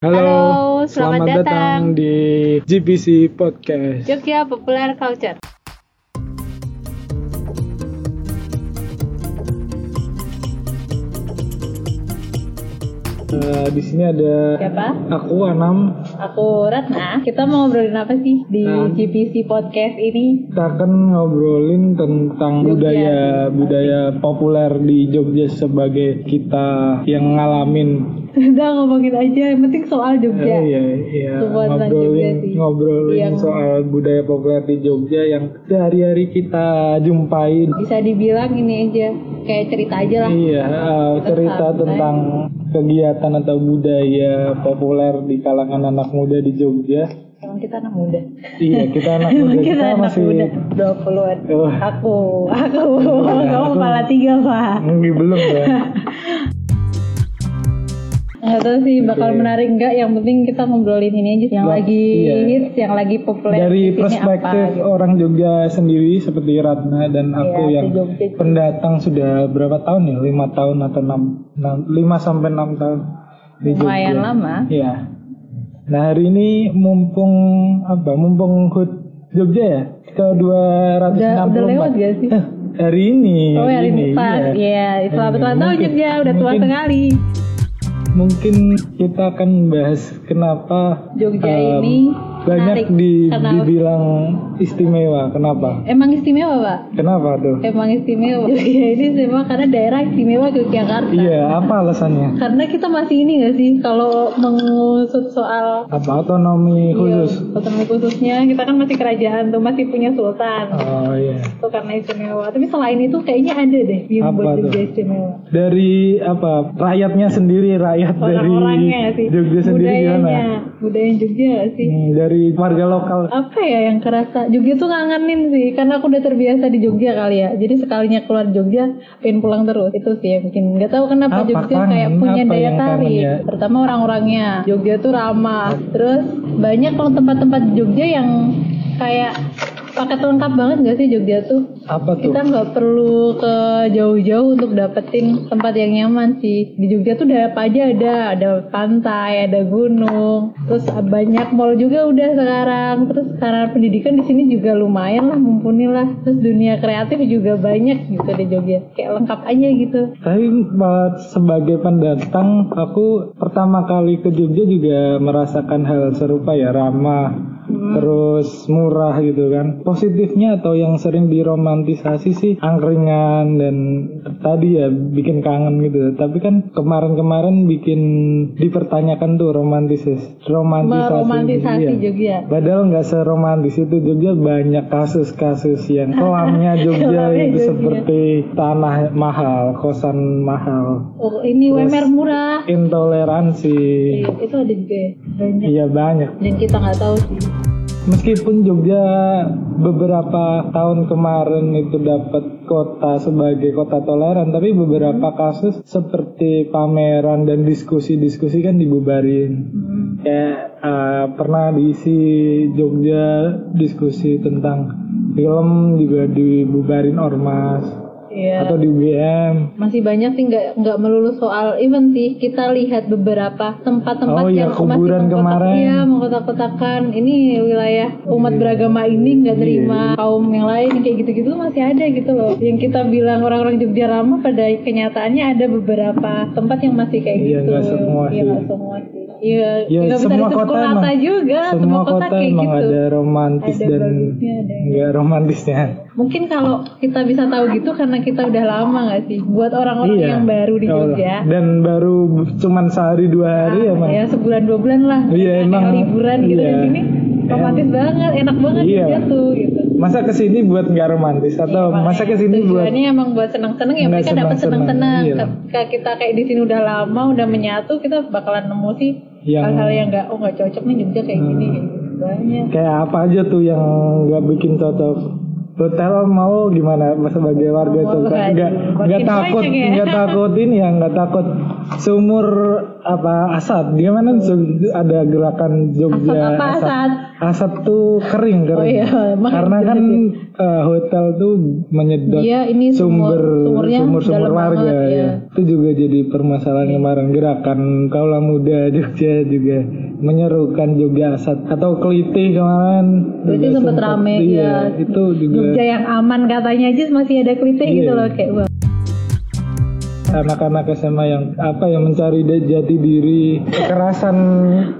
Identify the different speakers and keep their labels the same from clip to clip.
Speaker 1: Halo,
Speaker 2: Halo,
Speaker 1: datang.
Speaker 2: selamat datang
Speaker 1: di GBC Podcast.
Speaker 2: Jogja Popular Culture.
Speaker 1: Eh, di sini ada
Speaker 2: Siapa?
Speaker 1: aku Anam.
Speaker 2: Aku Ratna. Kita mau ngobrolin apa sih di
Speaker 1: Hmm.
Speaker 2: GPC Podcast ini?
Speaker 1: Kita akan ngobrolin tentang
Speaker 2: Jogja.
Speaker 1: budaya budaya populer di Jogja sebagai kita yang ngalamin.
Speaker 2: Udah ngomongin aja, yang penting soal
Speaker 1: Eh,
Speaker 2: Jogja.
Speaker 1: Iya, iya.
Speaker 2: Semua tentang
Speaker 1: Ngobrolin
Speaker 2: Jogja sih.
Speaker 1: ngobrolin
Speaker 2: Yang-
Speaker 1: soal budaya populer di Jogja yang sehari-hari kita jumpai.
Speaker 2: Bisa dibilang ini aja, kayak cerita aja lah.
Speaker 1: Iya, eh, cerita
Speaker 2: Tentang-
Speaker 1: tentang kegiatan atau budaya populer di kalangan anak muda di Jogja.
Speaker 2: Emang kita anak muda.
Speaker 1: Iya, kita anak muda
Speaker 2: Emang
Speaker 1: kita
Speaker 2: kita anak
Speaker 1: masih
Speaker 2: muda 20-an.
Speaker 1: Oh.
Speaker 2: Aku, aku, kamu
Speaker 1: aku-
Speaker 2: kepala tiga, Pak.
Speaker 1: Enggak, belum ya.
Speaker 2: Nggak tahu sih bakal
Speaker 1: Oke.
Speaker 2: menarik nggak, yang penting kita ngobrolin ini aja. Yang
Speaker 1: Ba-
Speaker 2: lagi
Speaker 1: iya.
Speaker 2: hits, yang lagi populer.
Speaker 1: Dari
Speaker 2: di sini apa,
Speaker 1: perspektif
Speaker 2: gitu.
Speaker 1: orang Jogja sendiri seperti Ratna dan aku
Speaker 2: Iya,
Speaker 1: yang
Speaker 2: di Jogja.
Speaker 1: pendatang sudah berapa tahun ya? Lima tahun atau enam, enam lima sampai enam tahun di Jogja.
Speaker 2: Lumayan lama.
Speaker 1: Iya. Nah hari ini mumpung apa? Mumpung HUT Jogja ya ke 264
Speaker 2: Udah, udah lewat gak sih?
Speaker 1: Eh, hari ini.
Speaker 2: Oh hari ini pas,
Speaker 1: iya.
Speaker 2: ya selamat
Speaker 1: Iya,
Speaker 2: ulang tahun
Speaker 1: mungkin-
Speaker 2: Jogja, udah tua
Speaker 1: mungkin-
Speaker 2: sekali.
Speaker 1: Mungkin kita akan bahas kenapa
Speaker 2: Jogja
Speaker 1: um,
Speaker 2: ini menarik
Speaker 1: banyak di-
Speaker 2: karena
Speaker 1: dibilang istimewa. Kenapa?
Speaker 2: emang istimewa pak,
Speaker 1: Kenapa tuh?
Speaker 2: emang istimewa. Jogja ini istimewa karena daerah istimewa Yogyakarta.
Speaker 1: Iya, apa alasannya?
Speaker 2: Karena kita masih ini gak sih kalau mengusut soal
Speaker 1: Apa otonomi khusus?
Speaker 2: Iya, otonomi khususnya kita kan masih kerajaan tuh masih punya sultan.
Speaker 1: Oh iya.
Speaker 2: Itu karena istimewa. Tapi selain itu kayaknya ada deh yang
Speaker 1: Apa
Speaker 2: buat Jogja
Speaker 1: tuh?
Speaker 2: istimewa.
Speaker 1: Dari apa? Rakyatnya sendiri, rakyat dari
Speaker 2: Orang-orangnya sih.
Speaker 1: Jogja sendiri gimana?
Speaker 2: budayanya, budaya Jogja gak sih.
Speaker 1: Hmm, dari warga lokal.
Speaker 2: apa ya yang kerasa Jogja tuh ngangenin sih karena aku udah terbiasa di Jogja kali ya jadi sekalinya keluar Jogja pengen pulang terus itu sih yang bikin nggak tahu kenapa
Speaker 1: Apa
Speaker 2: Jogja
Speaker 1: kangen?
Speaker 2: kayak punya
Speaker 1: Apa
Speaker 2: daya
Speaker 1: yang
Speaker 2: tarik
Speaker 1: kangen ya?
Speaker 2: pertama orang-orangnya Jogja tuh ramah terus banyak kalau tempat-tempat Jogja yang kayak paket lengkap banget gak sih Jogja tuh
Speaker 1: Apa tuh?
Speaker 2: kita nggak perlu ke jauh-jauh untuk dapetin tempat yang nyaman sih di Jogja tuh ada apa aja ada ada pantai ada gunung terus banyak mall juga udah sekarang terus karena pendidikan di sini juga lumayan lah mumpuni lah terus dunia kreatif juga banyak gitu di Jogja kayak lengkap aja gitu
Speaker 1: Tapi eh, sebagai pendatang, aku pertama kali ke Jogja juga merasakan hal serupa ya, ramah, terus murah gitu kan. Positifnya atau yang sering diromantisasi sih angkringan dan tadi ya bikin kangen gitu. Tapi kan kemarin-kemarin bikin dipertanyakan tuh romantisis, romantisasi.
Speaker 2: meromantisasi
Speaker 1: Iya.
Speaker 2: Jogja
Speaker 1: Padahal nggak seromantis itu Jogja banyak kasus-kasus yang kelamnya Jogja
Speaker 2: Kelamnya
Speaker 1: itu
Speaker 2: Jogja.
Speaker 1: seperti tanah mahal, kosan mahal,
Speaker 2: oh ini WMR murah
Speaker 1: intoleransi.
Speaker 2: Eh, itu ada juga ya banyak
Speaker 1: Iya banyak.
Speaker 2: dan kita nggak tahu sih
Speaker 1: Meskipun Jogja beberapa tahun kemarin itu dapat kota sebagai kota toleran, tapi
Speaker 2: Hmm.
Speaker 1: beberapa kasus seperti pameran dan diskusi-diskusi kan dibubarin.
Speaker 2: Hmm.
Speaker 1: Kayak eh, pernah diisi Jogja diskusi tentang film juga dibubarin ormas
Speaker 2: Iya.
Speaker 1: atau di UGM.
Speaker 2: masih banyak sih nggak nggak melulu soal event sih kita lihat beberapa tempat-tempat
Speaker 1: Oh, iya,
Speaker 2: yang
Speaker 1: kuburan
Speaker 2: masih mengkotak-
Speaker 1: kemarin. Iya.
Speaker 2: iya mengkotak-kotakan ini wilayah umat beragama ini nggak terima kaum yang lain kayak gitu-gitu masih ada gitu loh yang kita bilang orang-orang Jogja ramah pada kenyataannya ada beberapa tempat yang masih kayak
Speaker 1: Iya,
Speaker 2: gitu
Speaker 1: nggak semua
Speaker 2: iya
Speaker 1: sih.
Speaker 2: nggak semua sih iya
Speaker 1: Ya,
Speaker 2: nggak bisa
Speaker 1: semua
Speaker 2: dipukul
Speaker 1: kota
Speaker 2: rata
Speaker 1: emang-
Speaker 2: juga
Speaker 1: Semua kota,
Speaker 2: Ya, kayak
Speaker 1: emang
Speaker 2: gitu
Speaker 1: ada romantis
Speaker 2: Ada
Speaker 1: dan
Speaker 2: bagusnya, ada yang-
Speaker 1: enggak romantisnya.
Speaker 2: mungkin kalau kita bisa tahu gitu karena kita udah lama nggak sih buat orang-orang
Speaker 1: Iya.
Speaker 2: yang baru di
Speaker 1: Ya Allah.
Speaker 2: Jogja
Speaker 1: Dan baru cuman sehari dua hari
Speaker 2: Ah,
Speaker 1: emang.
Speaker 2: ya sebulan dua bulan lah
Speaker 1: Iya,
Speaker 2: Kayak
Speaker 1: emang.
Speaker 2: liburan gitu
Speaker 1: Iya.
Speaker 2: di sini romantis banget enak banget
Speaker 1: Iya.
Speaker 2: Jogja tuh gitu
Speaker 1: Masa kesini buat nggak romantis atau
Speaker 2: Iya,
Speaker 1: masa
Speaker 2: makanya
Speaker 1: kesini buat
Speaker 2: tujuannya emang buat seneng-seneng ya
Speaker 1: Nggak
Speaker 2: mereka dapat
Speaker 1: senang-senang,
Speaker 2: seneng-seneng
Speaker 1: iya.
Speaker 2: ketika kita kayak di sini udah lama udah menyatu kita bakalan nemu sih
Speaker 1: Yang- Hmm.
Speaker 2: hal-hal yang nggak oh nggak cocok nih Jogja kayak gini kayak gini banyak
Speaker 1: kayak apa aja tuh yang nggak bikin cocok hotel mau gimana sebagai warga
Speaker 2: Mau,
Speaker 1: Jogja
Speaker 2: aduh,
Speaker 1: nggak
Speaker 2: makin
Speaker 1: nggak takut
Speaker 2: banyak ya.
Speaker 1: nggak takut ini ya nggak takut seumur apa asap? Dia mana Jog- ada gerakan Jogja
Speaker 2: Asap apa, asap?
Speaker 1: Asap tuh kering kering.
Speaker 2: Oh iya, makanya
Speaker 1: Karena kan eh, hotel tuh menyedot
Speaker 2: Iya, ini sumur-
Speaker 1: sumber
Speaker 2: sumurnya
Speaker 1: sumur sumber
Speaker 2: dalam
Speaker 1: warga
Speaker 2: banget,
Speaker 1: ya.
Speaker 2: iya.
Speaker 1: Itu juga jadi permasalahan kemarin gerakan kaula muda Jogja juga menyerukan Jogja asap atau kelitih kemarin.
Speaker 2: Kelitih
Speaker 1: juga
Speaker 2: sempet rame,
Speaker 1: iya,
Speaker 2: iya.
Speaker 1: Itu juga
Speaker 2: Jogja yang aman katanya aja masih ada kritik
Speaker 1: Iya.
Speaker 2: gitu loh kayak wah.
Speaker 1: anak-anak SMA yang apa yang mencari de- jati diri kekerasan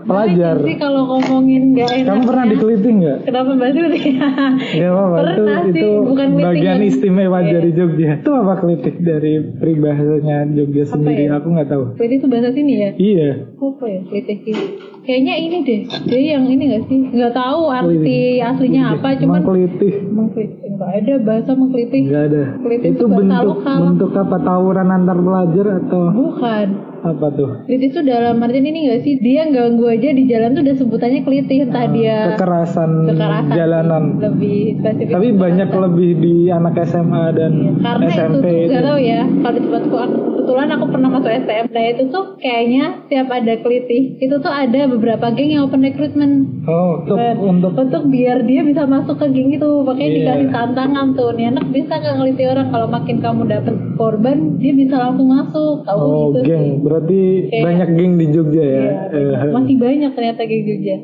Speaker 1: pelajar.
Speaker 2: Menarik sih kalau ngomongin gak enak.
Speaker 1: Kamu pernah dikeliting nggak?
Speaker 2: Kenapa Mbak Suri?
Speaker 1: Gak apa-apa, itu,
Speaker 2: ya. Pernah sih,
Speaker 1: itu
Speaker 2: bukan keliting
Speaker 1: bagian
Speaker 2: kan?
Speaker 1: istimewa
Speaker 2: Iya.
Speaker 1: dari Jogja. Itu apa kelitik dari peribahasanya Jogja sendiri?
Speaker 2: ya?
Speaker 1: Aku nggak tahu.
Speaker 2: Berarti itu bahasa sini ya?
Speaker 1: Iya,
Speaker 2: Apa ya? Kritik ini. Kayaknya ini deh. Dia yang ini gak sih? Gak tahu arti aslinya apa, cuman
Speaker 1: mengkelitik.
Speaker 2: mengkritik. Gak ada bahasa mengkritik.
Speaker 1: Gak ada.
Speaker 2: Keliting
Speaker 1: itu
Speaker 2: tuh bahasa
Speaker 1: bentuk
Speaker 2: lokal.
Speaker 1: bentuk apa tawuran antar pelajar atau
Speaker 2: Bukan.
Speaker 1: apa tuh?
Speaker 2: Kritik tuh dalam artian ini gak sih? Dia ganggu aja di jalan tuh udah sebutannya kritik. Entah
Speaker 1: Ah,
Speaker 2: dia
Speaker 1: Kekerasan,
Speaker 2: kekerasan.
Speaker 1: jalanan.
Speaker 2: Lebih spesifik.
Speaker 1: Tapi banyak lebih di anak SMA dan
Speaker 2: Iya, karena
Speaker 1: SMP
Speaker 2: itu tuh
Speaker 1: itu.
Speaker 2: gak tau ya kalau di tempatku aku kebetulan aku pernah masuk STM nah itu tuh kayaknya setiap ada kelitih itu tuh ada beberapa geng yang open recruitment
Speaker 1: Oh, untuk
Speaker 2: Buat-
Speaker 1: untuk
Speaker 2: untuk biar dia bisa masuk ke geng itu makanya
Speaker 1: Iya.
Speaker 2: dikasih tantangan tuh nih anak bisa nggak ngeliti orang kalau makin kamu dapet korban dia bisa langsung masuk tahu
Speaker 1: Oh,
Speaker 2: gitu sih
Speaker 1: geng. Berarti
Speaker 2: Kayak-
Speaker 1: banyak geng di Jogja ya.
Speaker 2: Iya,
Speaker 1: Eh,
Speaker 2: masih banyak ternyata geng Jogja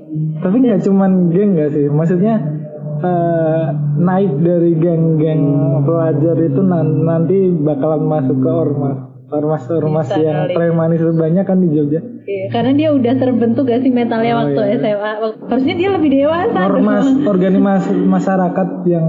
Speaker 1: Tapi nggak
Speaker 2: Iya.
Speaker 1: cuman geng nggak sih? Maksudnya eh, naik dari geng-geng
Speaker 2: Hmm.
Speaker 1: pelajar itu nan- nanti bakalan masuk ke ormas. Ormas-ormas
Speaker 2: Bisa
Speaker 1: yang
Speaker 2: kali.
Speaker 1: premanis itu banyak kan di Jogja.
Speaker 2: Iya, karena dia udah terbentuk gak sih mentalnya
Speaker 1: Oh,
Speaker 2: waktu
Speaker 1: iya.
Speaker 2: SMA Wak- harusnya dia lebih dewasa dong.
Speaker 1: Ormas organisasi masyarakat yang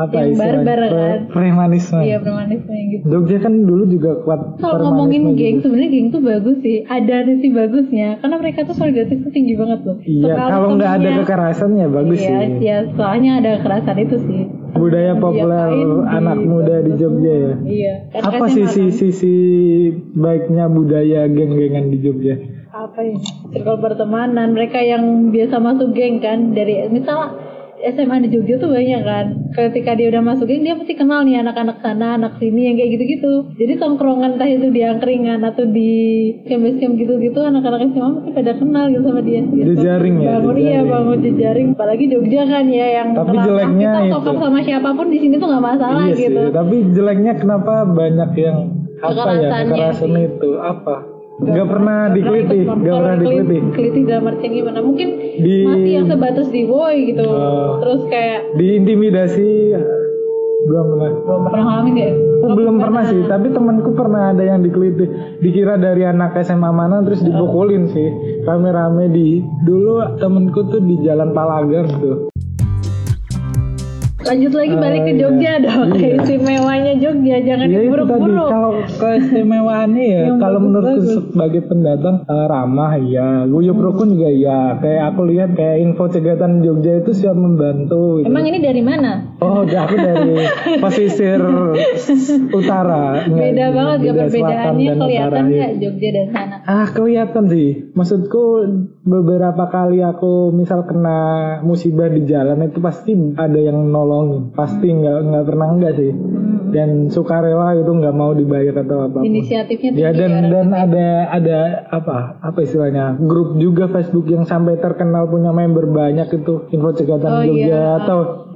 Speaker 1: apa
Speaker 2: Yang
Speaker 1: istilahnya?
Speaker 2: barbar kan?
Speaker 1: Pre- Premanisme.
Speaker 2: iya premanisme yang gitu
Speaker 1: Jogja kan dulu juga kuat
Speaker 2: kalau
Speaker 1: premanisme
Speaker 2: ngomongin
Speaker 1: juga.
Speaker 2: geng sebenarnya geng tuh bagus sih ada sisi bagusnya karena mereka tuh solidaritas tuh tinggi banget loh
Speaker 1: Iya,
Speaker 2: Soal
Speaker 1: kalau nggak ada
Speaker 2: temennya-
Speaker 1: kekerasan ya bagus
Speaker 2: iya,
Speaker 1: sih.
Speaker 2: iya soalnya ada kekerasan itu sih
Speaker 1: Budaya populer
Speaker 2: Diapain
Speaker 1: anak
Speaker 2: di-
Speaker 1: muda di Jogja ya.
Speaker 2: iya Karena
Speaker 1: Apa
Speaker 2: SMA
Speaker 1: sih si-
Speaker 2: kan.
Speaker 1: sisi baiknya budaya geng-gengan di Jogja?
Speaker 2: apa ya circle pertemanan mereka yang biasa masuk geng kan dari misal SMA di Jogja tuh banyak kan ketika dia udah masuk geng dia pasti kenal nih anak-anak sana anak sini yang kayak gitu-gitu jadi tongkrongan entah itu di angkringan atau di camp gitu-gitu anak-anak SMA masih pada kenal gitu sama dia gitu.
Speaker 1: Jejaring ya,
Speaker 2: bangun iya
Speaker 1: jejaring.
Speaker 2: bangun jejaring apalagi Jogja kan ya yang
Speaker 1: Tapi
Speaker 2: ramah.
Speaker 1: jeleknya
Speaker 2: kita
Speaker 1: itu.
Speaker 2: sokap sama siapapun di sini tuh nggak masalah
Speaker 1: iya
Speaker 2: gitu
Speaker 1: sih, tapi jeleknya kenapa banyak yang apa ya
Speaker 2: Kekerasannya
Speaker 1: kekerasan
Speaker 2: sih.
Speaker 1: itu apa? Gak pernah dikeliti, gak
Speaker 2: ikut kalau
Speaker 1: pernah
Speaker 2: dikelit-
Speaker 1: dikeliti.
Speaker 2: kelitih dalam artian gimana mungkin
Speaker 1: Di-
Speaker 2: masih yang sebatas di boy gitu
Speaker 1: Oh.
Speaker 2: terus kayak
Speaker 1: Diintimidasi belum pernah.
Speaker 2: pernah ngalamin gak
Speaker 1: Aku Oh, belum pernah sih, tapi temanku pernah ada yang dikeliti. Dikira dari anak SMA mana terus dipukulin sih. Rame-rame di dulu temanku tuh di Jalan Palagar tuh.
Speaker 2: lanjut lagi balik ke Jogja dong
Speaker 1: Iya.
Speaker 2: istimewanya Jogja jangan
Speaker 1: Iya itu tadi
Speaker 2: diburuk-buruk
Speaker 1: kalau keistimewaannya ya
Speaker 2: Yang
Speaker 1: kalau menurutku
Speaker 2: bagus-bagus.
Speaker 1: sebagai pendatang eh, ramah ya guyup rukun juga ya kayak aku lihat kayak info cegatan Jogja itu siap membantu gitu.
Speaker 2: emang ini dari mana
Speaker 1: Oh, udah aku dari pesisir utara. Nggak,
Speaker 2: beda banget gak
Speaker 1: Iya, beda selatan
Speaker 2: perbedaannya
Speaker 1: dan
Speaker 2: kelihatan
Speaker 1: utara, iya.
Speaker 2: nggak Jogja dan sana
Speaker 1: Ah kelihatan sih, maksudku beberapa kali aku misal kena musibah di jalan itu pasti ada yang nolongin, pasti nggak nggak pernah enggak sih, dan sukarela itu nggak mau dibayar atau apa.
Speaker 2: inisiatifnya
Speaker 1: Ya
Speaker 2: tinggi
Speaker 1: dan
Speaker 2: orang.
Speaker 1: dan ada ada apa apa istilahnya grup juga Facebook yang sampai terkenal punya member banyak itu info
Speaker 2: Oh,
Speaker 1: cegatan Jogja
Speaker 2: iya.
Speaker 1: atau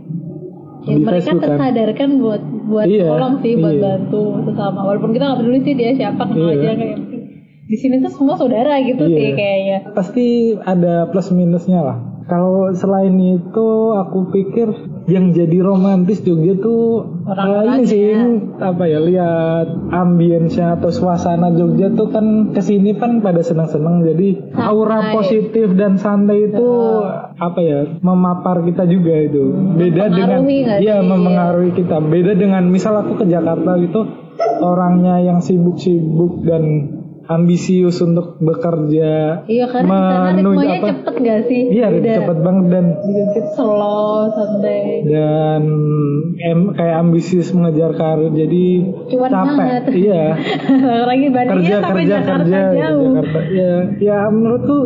Speaker 2: Ya,
Speaker 1: di
Speaker 2: mereka
Speaker 1: Facebook kan.
Speaker 2: tersadarkan buat buat
Speaker 1: Iya,
Speaker 2: tolong sih buat
Speaker 1: iya.
Speaker 2: bantu sesama walaupun kita nggak peduli sih dia siapa kenal
Speaker 1: Iya.
Speaker 2: aja kayak di sini tuh semua saudara gitu
Speaker 1: Iya.
Speaker 2: sih kayaknya
Speaker 1: pasti ada plus minusnya lah. Kalau selain itu aku pikir yang jadi romantis Jogja tuh
Speaker 2: Orang-orangnya.
Speaker 1: eh, ini sih apa ya lihat ambience-nya atau suasana Jogja tuh kan kesini kan pada senang-senang jadi
Speaker 2: Santai.
Speaker 1: aura positif dan santai itu apa ya memapar kita juga itu beda dengan
Speaker 2: Hmm, Mempengaruhi nggak
Speaker 1: iya
Speaker 2: sih?
Speaker 1: mempengaruhi kita beda dengan misal aku ke Jakarta gitu orangnya yang sibuk-sibuk dan ambisius untuk bekerja
Speaker 2: iya karena di sana
Speaker 1: menuju
Speaker 2: ritmenya
Speaker 1: apa?
Speaker 2: cepet gak sih
Speaker 1: Iya, cepet
Speaker 2: Beda.
Speaker 1: cepat banget dan
Speaker 2: sedikit slow santai
Speaker 1: dan em- kayak ambisius mengejar karir jadi
Speaker 2: Cuan
Speaker 1: capek.
Speaker 2: banget.
Speaker 1: Iya.
Speaker 2: lagi bandingnya
Speaker 1: kerja
Speaker 2: ya sampai
Speaker 1: kerja
Speaker 2: Jakarta
Speaker 1: kerja di
Speaker 2: jauh
Speaker 1: Jakarta. Ya, ya menurutku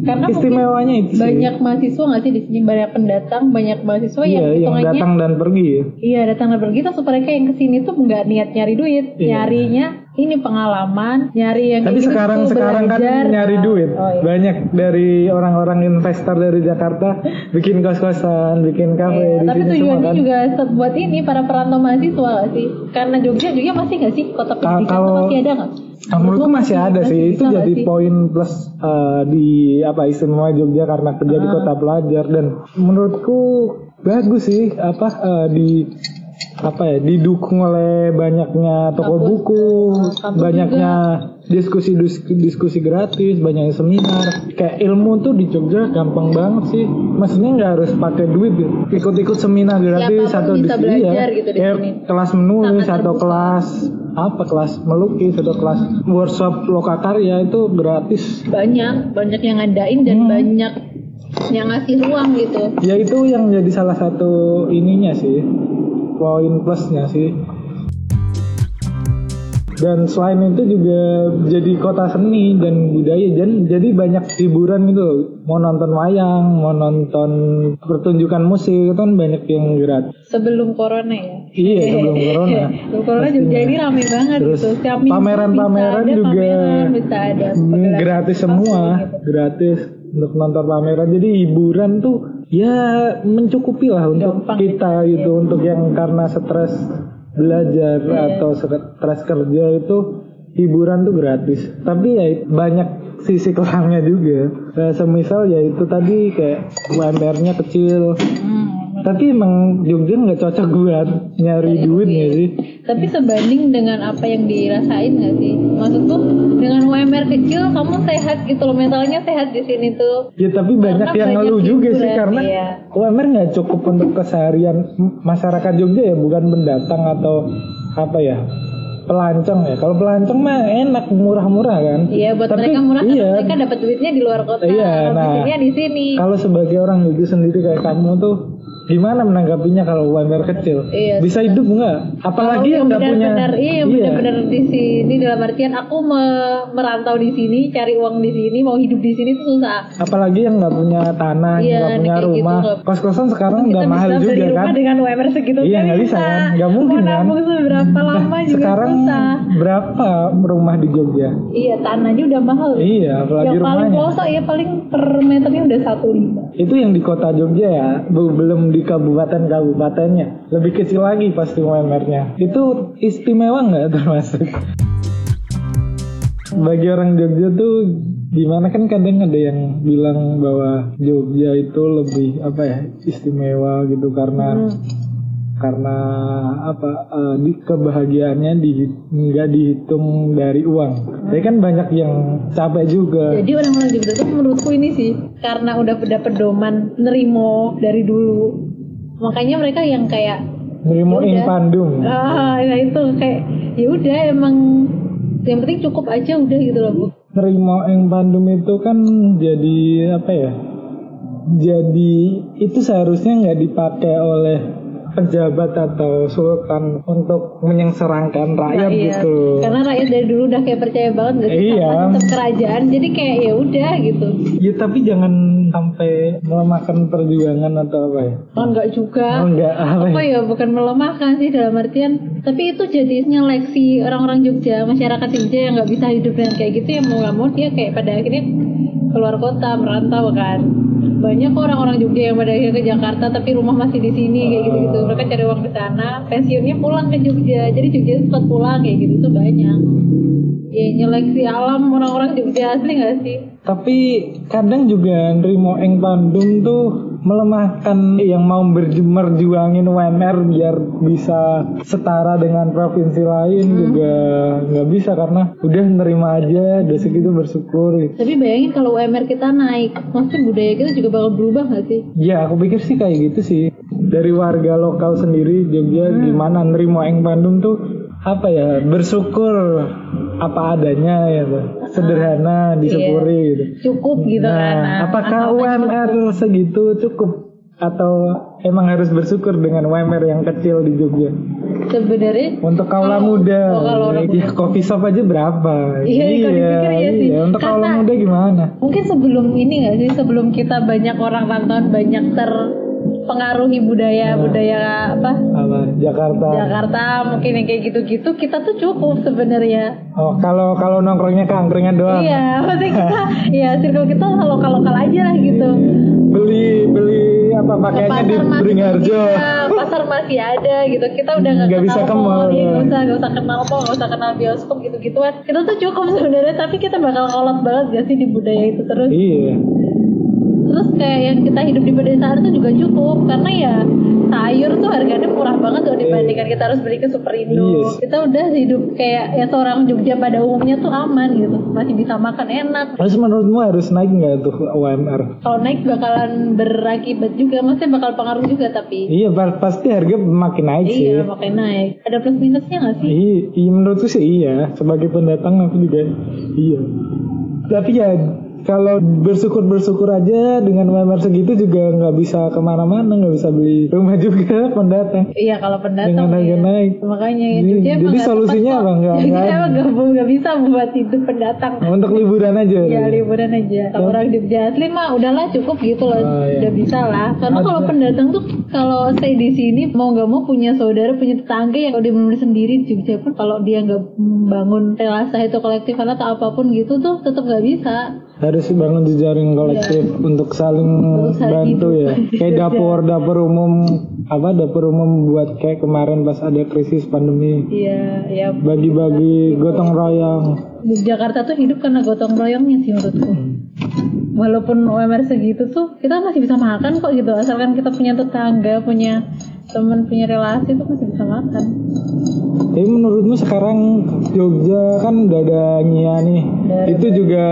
Speaker 2: karena mungkin
Speaker 1: istimewanya itu sih.
Speaker 2: banyak mahasiswa nggak sih di sini banyak pendatang banyak mahasiswa
Speaker 1: Iya,
Speaker 2: yang
Speaker 1: yang
Speaker 2: hitungannya
Speaker 1: datang dan pergi.
Speaker 2: Iya datang dan pergi terus mereka yang kesini tuh nggak niat nyari duit,
Speaker 1: Iya.
Speaker 2: nyarinya ini pengalaman nyari yang
Speaker 1: Tapi
Speaker 2: kayak gitu,
Speaker 1: sekarang sekarang kan
Speaker 2: belajar.
Speaker 1: nyari duit.
Speaker 2: Oh, iya.
Speaker 1: Banyak dari orang-orang investor dari Jakarta bikin kos-kosan, bikin
Speaker 2: Iya,
Speaker 1: kafe di
Speaker 2: tapi
Speaker 1: sini semua
Speaker 2: tujuannya
Speaker 1: kan.
Speaker 2: juga se- buat ini para perantau mahasiswa gak sih? Karena Jogja juga masih gak sih kota pendidikan tuh
Speaker 1: kalau-
Speaker 2: masih ada gak?
Speaker 1: Nah, menurutku masih ada sih itu
Speaker 2: bisa nggak
Speaker 1: jadi
Speaker 2: sih?
Speaker 1: poin plus eh, di apa istimewa Jogja karena kerja
Speaker 2: Ah.
Speaker 1: di kota pelajar dan menurutku bagus sih apa eh, di apa ya didukung oleh banyaknya toko
Speaker 2: Kampus.
Speaker 1: buku,
Speaker 2: kampus
Speaker 1: banyaknya diskusi diskusi gratis, banyaknya seminar. Kayak ilmu tuh di Jogja gampang banget sih. Maksudnya nggak harus pakai duit, ikut-ikut seminar gratis atau
Speaker 2: Siapapun bisa
Speaker 1: di-
Speaker 2: belajar
Speaker 1: iya.
Speaker 2: gitu di
Speaker 1: Kayak
Speaker 2: sini.
Speaker 1: kelas menulis
Speaker 2: Sangat
Speaker 1: atau
Speaker 2: terbuka.
Speaker 1: kelas apa kelas melukis atau kelas workshop lokakarya itu gratis
Speaker 2: banyak banyak yang ngadain dan
Speaker 1: Hmm.
Speaker 2: banyak yang ngasih ruang gitu.
Speaker 1: ya itu yang jadi salah satu ininya sih poin plusnya sih dan selain itu juga jadi kota seni dan budaya dan jadi banyak hiburan gitu loh. mau nonton wayang mau nonton pertunjukan musik itu kan banyak yang gratis
Speaker 2: Sebelum corona ya.
Speaker 1: iya sebelum corona ya.
Speaker 2: Sebelum corona Jogja ini rame banget
Speaker 1: Terus
Speaker 2: gitu. Setiap minggu
Speaker 1: pameran-pameran
Speaker 2: bisa ada
Speaker 1: juga
Speaker 2: pameran, bisa ada
Speaker 1: Hmm,
Speaker 2: pagelaran
Speaker 1: gratis
Speaker 2: apapun
Speaker 1: semua,
Speaker 2: gitu.
Speaker 1: gratis untuk nonton pameran. Jadi hiburan tuh ya mencukupi lah untuk
Speaker 2: Gampang
Speaker 1: kita gitu, untuk yang karena stres belajar atau stres kerja itu hiburan tuh gratis. Tapi ya banyak sisi kurangnya juga. Eh, semisal ya itu tadi kayak UMR-nya kecil.
Speaker 2: Hmm.
Speaker 1: Tapi emang Jogja nggak cocok buat nyari duit nggak sih?
Speaker 2: Tapi sebanding dengan apa yang dirasain gak sih? Maksudku dengan UMR kecil kamu sehat gitu loh mentalnya sehat di sini tuh.
Speaker 1: Ya tapi
Speaker 2: Karena
Speaker 1: banyak yang
Speaker 2: banyak
Speaker 1: ngeluh juga sih
Speaker 2: hiburan,
Speaker 1: karena
Speaker 2: iya.
Speaker 1: UMR nggak cukup untuk keseharian m- masyarakat Jogja ya bukan pendatang atau apa ya pelancong ya. Kalau pelancong mah enak murah-murah kan.
Speaker 2: Iya buat
Speaker 1: Tapi,
Speaker 2: mereka murah
Speaker 1: iya,
Speaker 2: karena mereka dapat duitnya di luar kota,
Speaker 1: Iya,
Speaker 2: habis
Speaker 1: nah.
Speaker 2: duitnya di sini.
Speaker 1: Kalau sebagai orang Jogja sendiri kayak kamu tuh gimana menanggapinya kalau UMR kecil?
Speaker 2: Iya,
Speaker 1: Bisa hidup nggak? Apalagi yang nggak punya.
Speaker 2: benar iya, Oh, benar-benar di sini dalam artian aku me- merantau di sini, cari uang di sini, mau hidup di sini tuh susah.
Speaker 1: Apalagi yang nggak punya tanah,
Speaker 2: Iya,
Speaker 1: nggak punya
Speaker 2: kayak gitu,
Speaker 1: rumah.
Speaker 2: nggak-
Speaker 1: Kos-kosan sekarang
Speaker 2: Kita
Speaker 1: nggak
Speaker 2: bisa
Speaker 1: mahal
Speaker 2: beli
Speaker 1: juga
Speaker 2: rumah
Speaker 1: kan?
Speaker 2: dengan UMR segitu
Speaker 1: Iya, nggak bisa kan? Nggak mungkin
Speaker 2: mau
Speaker 1: kan?
Speaker 2: nabung seberapa lama juga
Speaker 1: Sekarang
Speaker 2: susah.
Speaker 1: berapa rumah di Jogja?
Speaker 2: Iya, tanahnya udah mahal.
Speaker 1: Iya, apalagi
Speaker 2: yang paling
Speaker 1: rumahnya.
Speaker 2: pelosok ya paling per meternya udah satu lima
Speaker 1: Itu yang di kota Jogja ya, be- belum di kabupaten-kabupatennya. Lebih kecil lagi pasti UMR-nya. Itu istimewa nggak termasuk? Bagi orang Jogja tuh gimana kan kadang ada yang bilang bahwa Jogja itu lebih apa ya istimewa gitu karena karena apa eh, di kebahagiaannya di nggak dihitung dari uang. Tapi kan banyak yang capek juga.
Speaker 2: jadi orang-orang Jogja tuh menurutku ini sih karena udah udah pedoman nerimo dari dulu makanya mereka yang kayak
Speaker 1: Nerimo
Speaker 2: Yaudah.
Speaker 1: in pandum.
Speaker 2: ah ya itu kayak ya udah emang yang penting cukup aja udah gitu loh bu
Speaker 1: Nerimo in pandum itu kan jadi apa ya? Jadi itu seharusnya nggak dipakai oleh pejabat atau sultan untuk menyengsarakan rakyat
Speaker 2: Iya.
Speaker 1: gitu.
Speaker 2: karena rakyat dari dulu udah kayak percaya banget gak sih
Speaker 1: Iya.
Speaker 2: sama sistem kerajaan jadi kayak ya udah gitu
Speaker 1: Ya tapi jangan sampai melemahkan perjuangan atau apa ya?
Speaker 2: kan nggak juga
Speaker 1: Oh, enggak apa
Speaker 2: apa
Speaker 1: ya?
Speaker 2: ya bukan melemahkan sih dalam artian tapi itu jadi seleksi orang-orang Jogja masyarakat Jogja yang nggak bisa hidup dengan kayak gitu ya mau nggak mau dia kayak pada akhirnya keluar kota merantau kan banyak kok orang-orang Jogja yang pada akhirnya ke Jakarta tapi rumah masih di sini kayak gitu gitu mereka cari uang ke sana pensiunnya pulang ke Jogja jadi Jogja sempat pulang kayak gitu tuh banyak ya nyeleksi alam orang-orang Jogja asli nggak sih
Speaker 1: Tapi kadang juga nerimo eng pandum tuh melemahkan yang mau berju- merjuangin UMR biar bisa setara dengan provinsi lain juga nggak bisa karena udah nerima aja udah segitu bersyukur gitu.
Speaker 2: tapi bayangin kalau UMR kita naik maksudnya budaya kita juga bakal berubah nggak sih
Speaker 1: Ya aku pikir sih kayak gitu sih dari warga lokal sendiri Jogja gimana nerimo eng pandum tuh apa ya bersyukur apa adanya ya Pak. sederhana disyukuri gitu.
Speaker 2: cukup gitu kan
Speaker 1: Nah,
Speaker 2: Nah,
Speaker 1: apakah
Speaker 2: asalkan
Speaker 1: UMR segitu cukup atau emang harus bersyukur dengan UMR yang kecil di Jogja?
Speaker 2: sebenarnya
Speaker 1: Untuk kaula
Speaker 2: Kalau-
Speaker 1: muda,
Speaker 2: oh, kalau orang
Speaker 1: ya, coffee shop aja berapa?
Speaker 2: Iya, kalau dipikir iya sih.
Speaker 1: iya. Untuk kaula
Speaker 2: Karena-
Speaker 1: muda gimana?
Speaker 2: mungkin sebelum ini nggak sih sebelum kita banyak orang rantauan banyak ter pengaruhi budaya
Speaker 1: Nah.
Speaker 2: budaya apa
Speaker 1: apa Jakarta.
Speaker 2: Jakarta mungkin yang kayak gitu-gitu kita tuh cukup sebenarnya
Speaker 1: Oh kalau kalau nongkrongnya keangkringan doang.
Speaker 2: iya maksudnya kita ya circle kita lokal lokal aja lah gitu
Speaker 1: Iya. Beli beli apa
Speaker 2: Ke
Speaker 1: pakaiannya di
Speaker 2: masih-
Speaker 1: Beringharjo.
Speaker 2: iya, pasar masih ada gitu kita udah
Speaker 1: Nggak
Speaker 2: nggak
Speaker 1: bisa ke
Speaker 2: kenal mall,
Speaker 1: mall,
Speaker 2: iya, nggak
Speaker 1: ya.
Speaker 2: usah nggak usah kenal mall nggak usah kenal bioskop gitu gituan kita tuh cukup sebenarnya tapi kita bakal kolot banget gak sih di budaya itu terus
Speaker 1: Iya.
Speaker 2: terus kayak yang kita hidup di pedesaan itu juga cukup karena ya sayur tuh harganya murah banget loh dibandingkan kita harus beli ke Superindo
Speaker 1: Yes.
Speaker 2: kita udah hidup kayak ya seorang Jogja pada umumnya tuh aman gitu masih bisa makan enak
Speaker 1: Terus menurutmu harus naik nggak tuh UMR?
Speaker 2: kalau naik bakalan berakibat juga maksudnya bakal pengaruh juga tapi
Speaker 1: Iya pa- pasti harga makin naik sih.
Speaker 2: Iya, pakai naik. Ada plus minusnya nggak sih?
Speaker 1: Iya, iya, menurutku sih iya. Sebagai pendatang aku juga iya. Tapi ya kalau bersyukur bersyukur aja dengan UMR segitu juga nggak bisa kemana-mana, nggak bisa beli rumah juga pendatang.
Speaker 2: Iya, kalau pendatang.
Speaker 1: Dengan harga
Speaker 2: iya.
Speaker 1: naik. Iya,
Speaker 2: Makanya ya,
Speaker 1: Jadi-
Speaker 2: Jogja emang
Speaker 1: jadi
Speaker 2: nggak
Speaker 1: solusinya
Speaker 2: tepat
Speaker 1: apa?
Speaker 2: kok.
Speaker 1: Nggak-
Speaker 2: Jogja
Speaker 1: nggak-
Speaker 2: emang nggak bu- nggak bisa buat hidup pendatang.
Speaker 1: Nah, untuk liburan aja.
Speaker 2: Ya liburan aja. Kalau orang Jogja asli mah udahlah cukup gitu loh,
Speaker 1: Oh, iya.
Speaker 2: udah bisa lah. Karena kalau pendatang tuh kalau stay di sini mau nggak mau punya saudara, punya tetangga yang kalau dia bener sendiri di Jogja pun kalau dia nggak membangun relasi itu kolektifan atau apapun gitu tuh tetap nggak bisa.
Speaker 1: Harus bangun jejaring kolektif untuk saling
Speaker 2: Iya. Untuk saling
Speaker 1: bantu ya.
Speaker 2: hidup.
Speaker 1: Kayak dapur dapur umum apa dapur umum buat kayak kemarin pas ada krisis pandemi
Speaker 2: Iya, ya.
Speaker 1: bagi-bagi gotong royong.
Speaker 2: Jakarta tuh hidup karena gotong royongnya sih menurutku. walaupun UMR segitu tuh kita masih bisa makan kok gitu asalkan kita punya tetangga punya teman punya relasi tuh masih bisa makan
Speaker 1: Tapi menurutmu sekarang Jogja kan udah ada Nia nih.
Speaker 2: Ada.
Speaker 1: Itu juga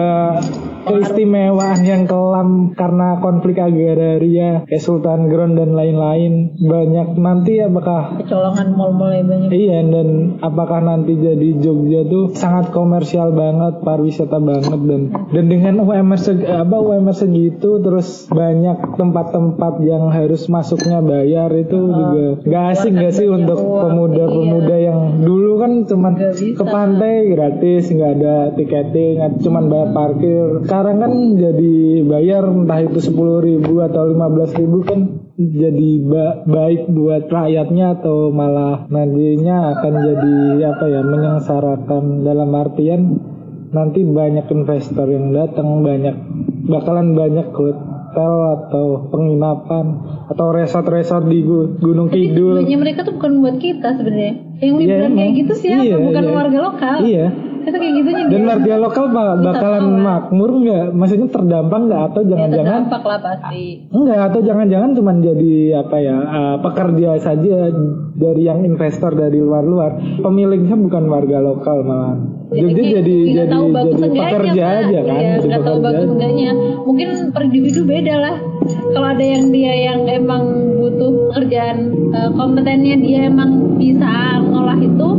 Speaker 1: keistimewaan yang kelam karena konflik agraria, kayak Sultan Ground dan lain-lain. Banyak nanti apakah
Speaker 2: kecolongan mall-mall yang banyak
Speaker 1: Iya dan apakah nanti jadi Jogja tuh sangat komersial banget, pariwisata banget dan dan dengan UMR seg, apa UMR segitu terus banyak tempat-tempat yang harus masuknya bayar itu juga nggak asik nggak sih
Speaker 2: banyak
Speaker 1: untuk
Speaker 2: uang,
Speaker 1: pemuda-pemuda yang dulu kan cuman
Speaker 2: Nggak bisa.
Speaker 1: ke pantai gratis nggak ada tiketing cuman bayar parkir sekarang kan jadi bayar entah itu sepuluh ribu atau lima belas ribu kan jadi ba- baik buat rakyatnya atau malah nantinya akan jadi apa ya menyengsarakan dalam artian nanti banyak investor yang datang banyak bakalan banyak hotel atau penginapan atau resort-resort di Gu- Gunung
Speaker 2: tapi
Speaker 1: Kidul
Speaker 2: tujuannya mereka tuh bukan buat kita sebenarnya yang
Speaker 1: Hmm. Iya,
Speaker 2: liburan kayak
Speaker 1: emang.
Speaker 2: gitu siapa
Speaker 1: Iya,
Speaker 2: bukan
Speaker 1: iya.
Speaker 2: warga lokal
Speaker 1: iya
Speaker 2: itu kayak gitunya Ya,
Speaker 1: Dan
Speaker 2: dia-
Speaker 1: warga lokal ba- bakalan
Speaker 2: tahu, kan?
Speaker 1: makmur nggak? Maksudnya terdampak nggak? Atau
Speaker 2: ya
Speaker 1: jangan-jangan
Speaker 2: terdampak lah pasti
Speaker 1: enggak? Atau jangan-jangan cuman jadi apa ya eh, pekerja saja dari yang investor dari luar-luar? Pemiliknya bukan warga lokal malah.
Speaker 2: Ya,
Speaker 1: Jogja
Speaker 2: kayak
Speaker 1: jadi
Speaker 2: nggak
Speaker 1: jadi
Speaker 2: tahu bagus
Speaker 1: jadi
Speaker 2: enggaknya,
Speaker 1: pekerja
Speaker 2: Pak.
Speaker 1: aja kan?
Speaker 2: Iya,
Speaker 1: Jadi
Speaker 2: nggak tahu
Speaker 1: pekerja
Speaker 2: bagus
Speaker 1: aja.
Speaker 2: enggaknya mungkin per individu beda lah kalau ada yang dia yang emang butuh pekerjaan eh, kompetennya dia emang bisa ngolah itu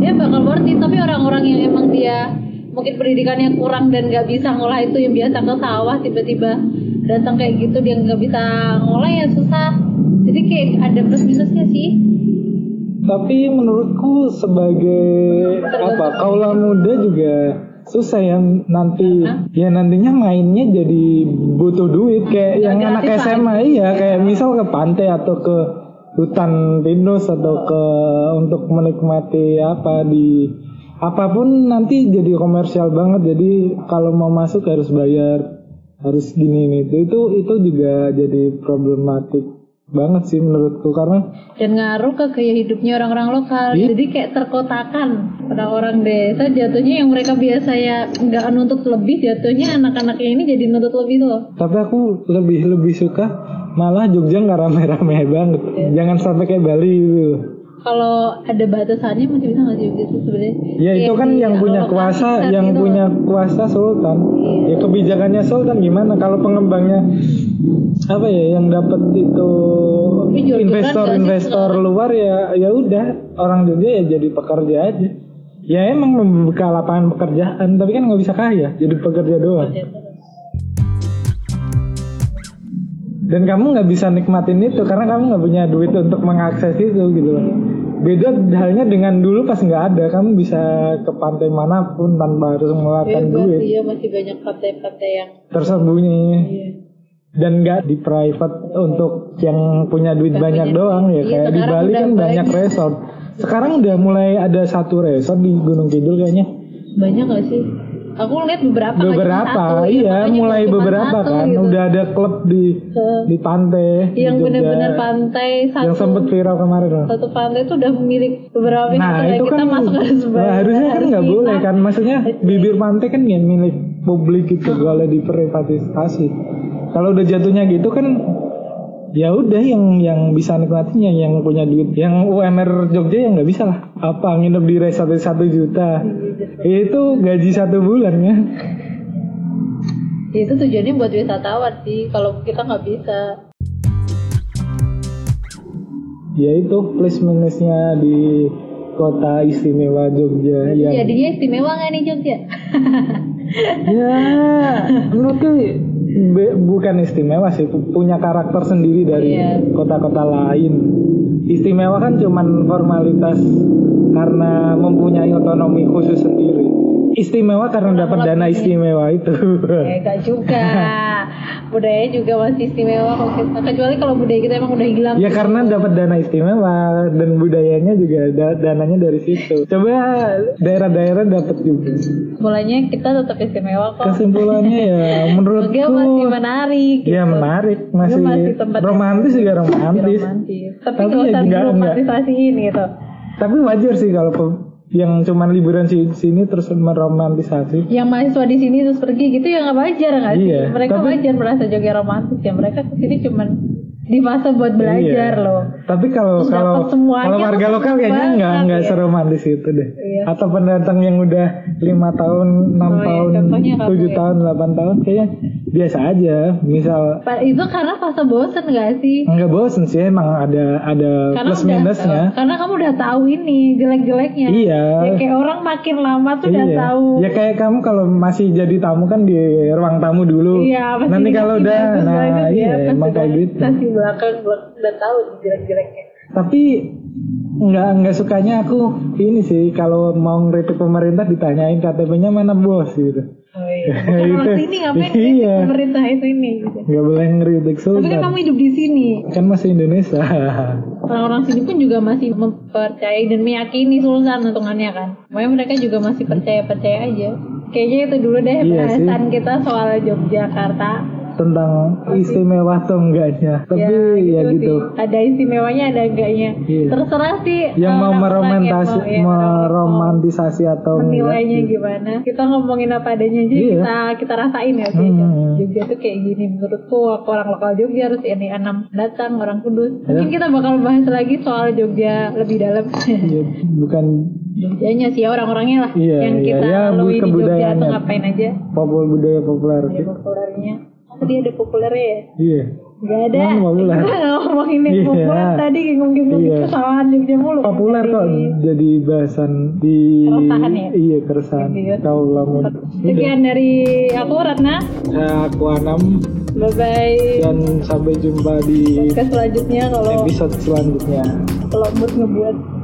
Speaker 2: dia bakal worth it tapi orang-orang yang emang dia mungkin pendidikannya kurang dan nggak bisa ngolah itu yang biasa ke sawah tiba-tiba datang kayak gitu dia nggak bisa ngolah ya susah jadi kayak ada plus minusnya sih
Speaker 1: Tapi menurutku sebagai apa? Kaula muda juga susah ya nanti
Speaker 2: Hah?
Speaker 1: ya nantinya mainnya jadi butuh duit kayak
Speaker 2: Nggak
Speaker 1: yang anak
Speaker 2: gratisan.
Speaker 1: SMA iya kayak misal ke pantai atau ke hutan pinus atau ke untuk menikmati apa di apapun nanti jadi komersial banget jadi kalau mau masuk harus bayar harus gini ini itu itu itu juga jadi problematik banget sih menurutku karena
Speaker 2: dan ngaruh ke gaya hidupnya orang-orang lokal.
Speaker 1: Iya.
Speaker 2: Jadi kayak terkotakan orang-orang desa jatuhnya yang mereka biasa ya nggak nuntut lebih jatuhnya anak-anaknya ini jadi nuntut lebih loh.
Speaker 1: tapi aku lebih lebih suka malah Jogja nggak rame-rame banget jangan sampai kayak Bali gitu
Speaker 2: Kalau ada batasannya masih bisa nggak sih gitu sebenarnya?
Speaker 1: ya itu
Speaker 2: Kayak
Speaker 1: kan
Speaker 2: di
Speaker 1: yang punya
Speaker 2: alokasi
Speaker 1: kuasa
Speaker 2: besar
Speaker 1: yang
Speaker 2: gitu Iya.
Speaker 1: punya
Speaker 2: loh.
Speaker 1: kuasa Sultan ya kebijakannya Sultan gimana kalau pengembangnya apa ya yang dapat itu
Speaker 2: Tapi Jogja kan nggak sih
Speaker 1: investor-investor
Speaker 2: sekarang.
Speaker 1: luar ya ya udah orang Jogja ya jadi pekerja aja ya emang membuka lapangan pekerjaan tapi kan nggak bisa kaya jadi pekerja doang
Speaker 2: Iya,
Speaker 1: dan kamu nggak bisa nikmatin itu karena kamu nggak punya duit untuk mengakses itu gitu loh beda halnya dengan dulu pas nggak ada kamu bisa ke pantai manapun tanpa harus
Speaker 2: Iya,
Speaker 1: mengeluarkan
Speaker 2: berarti
Speaker 1: duit
Speaker 2: ya masih banyak partai-partai yang
Speaker 1: tersembunyi
Speaker 2: iya.
Speaker 1: dan nggak di private untuk yang punya duit
Speaker 2: Yang
Speaker 1: banyak
Speaker 2: punya
Speaker 1: doang ya
Speaker 2: duit. Iya,
Speaker 1: kayak di
Speaker 2: sekarang
Speaker 1: Bali
Speaker 2: udah
Speaker 1: kan banyak
Speaker 2: banyak.
Speaker 1: resort sekarang udah mulai ada satu resort di Gunung Kidul kayaknya
Speaker 2: banyak gak sih aku ngeliat beberapa nggak cuma
Speaker 1: beberapa
Speaker 2: satu, ya,
Speaker 1: iya
Speaker 2: makanya
Speaker 1: mulai
Speaker 2: cuma
Speaker 1: beberapa
Speaker 2: satu
Speaker 1: kan
Speaker 2: gitu.
Speaker 1: udah ada klub di
Speaker 2: Eh,
Speaker 1: di pantai di
Speaker 2: yang
Speaker 1: Jogja.
Speaker 2: benar-benar pantai satu
Speaker 1: yang sempet viral kemarin loh
Speaker 2: satu pantai itu udah milik beberapa pihak
Speaker 1: nah itu
Speaker 2: kayak Oh, iya, kita
Speaker 1: kan
Speaker 2: masuk harus
Speaker 1: nah,
Speaker 2: bayar,
Speaker 1: harusnya kan
Speaker 2: harus
Speaker 1: nggak boleh
Speaker 2: iman.
Speaker 1: kan maksudnya bibir pantai kan ya milik publik
Speaker 2: Ah.
Speaker 1: gitu nggak boleh diprivatisasi kalau udah jatuhnya gitu kan ya udah yang yang bisa nikmatinya yang punya duit yang UMR Jogja yang nggak bisa lah apa nginep di resort satu juta
Speaker 2: gitu.
Speaker 1: itu gaji satu bulan ya
Speaker 2: Ya, itu tujuannya buat wisatawan sih kalau kita nggak bisa
Speaker 1: ya itu plus minusnya di kota istimewa Jogja
Speaker 2: Berarti
Speaker 1: yang
Speaker 2: jadinya istimewa nggak nih Jogja
Speaker 1: ya menurutku be- bukan istimewa sih pu- punya karakter sendiri dari
Speaker 2: Iya.
Speaker 1: kota-kota lain istimewa kan cuman formalitas karena mempunyai otonomi khusus sendiri istimewa karena dapat dana istimewa itu
Speaker 2: ya nggak juga budaya juga masih istimewa kalau kita kecuali kalau budaya kita emang udah hilang
Speaker 1: ya karena dapat dana istimewa dan budayanya juga da- dananya dari situ coba daerah-daerah dapat juga
Speaker 2: mulanya kita tetap istimewa kok
Speaker 1: kesimpulannya ya menurutku
Speaker 2: Jogja Oh. masih menarik gitu,
Speaker 1: ya menarik masih,
Speaker 2: masih tempat yang-
Speaker 1: romantis juga romantis
Speaker 2: romantis tapi,
Speaker 1: Tapi
Speaker 2: nggak
Speaker 1: ya
Speaker 2: usah
Speaker 1: nggak- nggak.
Speaker 2: diromantisasiin gitu
Speaker 1: Tapi wajar sih kalau pe- yang cuman liburan si- sini terus meromantisasi.
Speaker 2: yang mahasiswa di sini terus pergi gitu ya nggak wajar nggak sih
Speaker 1: Iya,
Speaker 2: mereka
Speaker 1: tapi-
Speaker 2: wajar merasa Jogja romantis ya mereka kesini cuman di fase buat belajar
Speaker 1: Iya.
Speaker 2: loh
Speaker 1: Tapi kalau
Speaker 2: Terus
Speaker 1: kalau
Speaker 2: dapat semuanya
Speaker 1: kalau warga
Speaker 2: tuh
Speaker 1: lokal
Speaker 2: seneng
Speaker 1: kayaknya
Speaker 2: banget,
Speaker 1: nggak nggak
Speaker 2: ya.
Speaker 1: seromantis itu deh.
Speaker 2: Iya.
Speaker 1: Atau pendatang yang udah lima tahun, enam
Speaker 2: Oh, iya,
Speaker 1: tahun,
Speaker 2: contohnya kamu
Speaker 1: tujuh
Speaker 2: ya.
Speaker 1: tahun, delapan tahun kayaknya biasa aja. Misal
Speaker 2: Pa- itu karena fase bosen nggak sih
Speaker 1: nggak bosen sih emang ada ada Eh,
Speaker 2: karena
Speaker 1: plus
Speaker 2: udah
Speaker 1: minusnya.
Speaker 2: karena kamu udah tahu ini jelek-jeleknya
Speaker 1: Iya.
Speaker 2: ya kayak orang makin lama tuh udah
Speaker 1: Iya.
Speaker 2: tahu
Speaker 1: Ya kayak kamu kalau masih jadi tamu kan di ruang tamu dulu.
Speaker 2: Iya, pasti
Speaker 1: Nanti kalau
Speaker 2: dikasih
Speaker 1: udah
Speaker 2: bagus ya, lah
Speaker 1: nah
Speaker 2: ini dia,
Speaker 1: iya
Speaker 2: pas
Speaker 1: emang
Speaker 2: udah
Speaker 1: kayak gitu.
Speaker 2: dikasih belakang belak- udah tahu jelek-jeleknya
Speaker 1: tapi nggak nggak sukanya aku ini sih kalau mau ngeritik pemerintah ditanyain KTP-nya mana bos gitu
Speaker 2: oh, iya. bukan orang
Speaker 1: Itu-
Speaker 2: sini ngapain
Speaker 1: iya.
Speaker 2: iya. pemerintah sini gitu.
Speaker 1: nggak boleh ngeritik
Speaker 2: tapi kan
Speaker 1: sultan
Speaker 2: kamu hidup di sini
Speaker 1: kan masih Indonesia
Speaker 2: orang-orang sini pun juga masih mempercayai dan meyakini sultan hitungannya kan makanya mereka juga masih percaya percaya aja kayaknya itu dulu deh
Speaker 1: Iya sih.
Speaker 2: bahasan kita soal Yogyakarta
Speaker 1: tentang istimewa atau enggaknya tapi ya
Speaker 2: sih.
Speaker 1: gitu,
Speaker 2: ada istimewanya ada enggaknya
Speaker 1: Iya.
Speaker 2: terserah sih
Speaker 1: yang mau
Speaker 2: orang-orang yang
Speaker 1: meromantasi
Speaker 2: mau- ya,
Speaker 1: meromantisasi atau enggak
Speaker 2: menilainya gimana kita ngomongin apa adanya aja
Speaker 1: Iya.
Speaker 2: kita kita rasain ya sih
Speaker 1: Hmm.
Speaker 2: Jogja tuh kayak gini menurutku aku orang lokal Jogja harus ini enam datang orang kudus mungkin kita bakal bahas lagi soal Jogja lebih dalam
Speaker 1: Iya, bukan
Speaker 2: Jogjanya sih ya orang-orangnya lah
Speaker 1: Iya,
Speaker 2: yang
Speaker 1: iya.
Speaker 2: kita
Speaker 1: Ya,
Speaker 2: lalui di Jogja
Speaker 1: kebudayaannya.
Speaker 2: tuh ngapain aja
Speaker 1: populer budaya populer
Speaker 2: ya populernya tadi ada populernya ya
Speaker 1: iya
Speaker 2: Gak ada
Speaker 1: Mana populer?
Speaker 2: Kita nggak ngomongin yang
Speaker 1: Iya.
Speaker 2: populer tadi ngomongin
Speaker 1: Iya.
Speaker 2: kesalahan Jogja mulu
Speaker 1: populer kok jadi bahasan di
Speaker 2: Iya, Keresahan ya?
Speaker 1: iya keresahan
Speaker 2: Iya.
Speaker 1: kaulah Eh, muda Udah.
Speaker 2: Sekian dari aku Ratna
Speaker 1: Saya aku Anam
Speaker 2: Bye bye.
Speaker 1: dan sampai jumpa di
Speaker 2: Podcast selanjutnya kalau
Speaker 1: episode selanjutnya.
Speaker 2: kalau mood ngebuat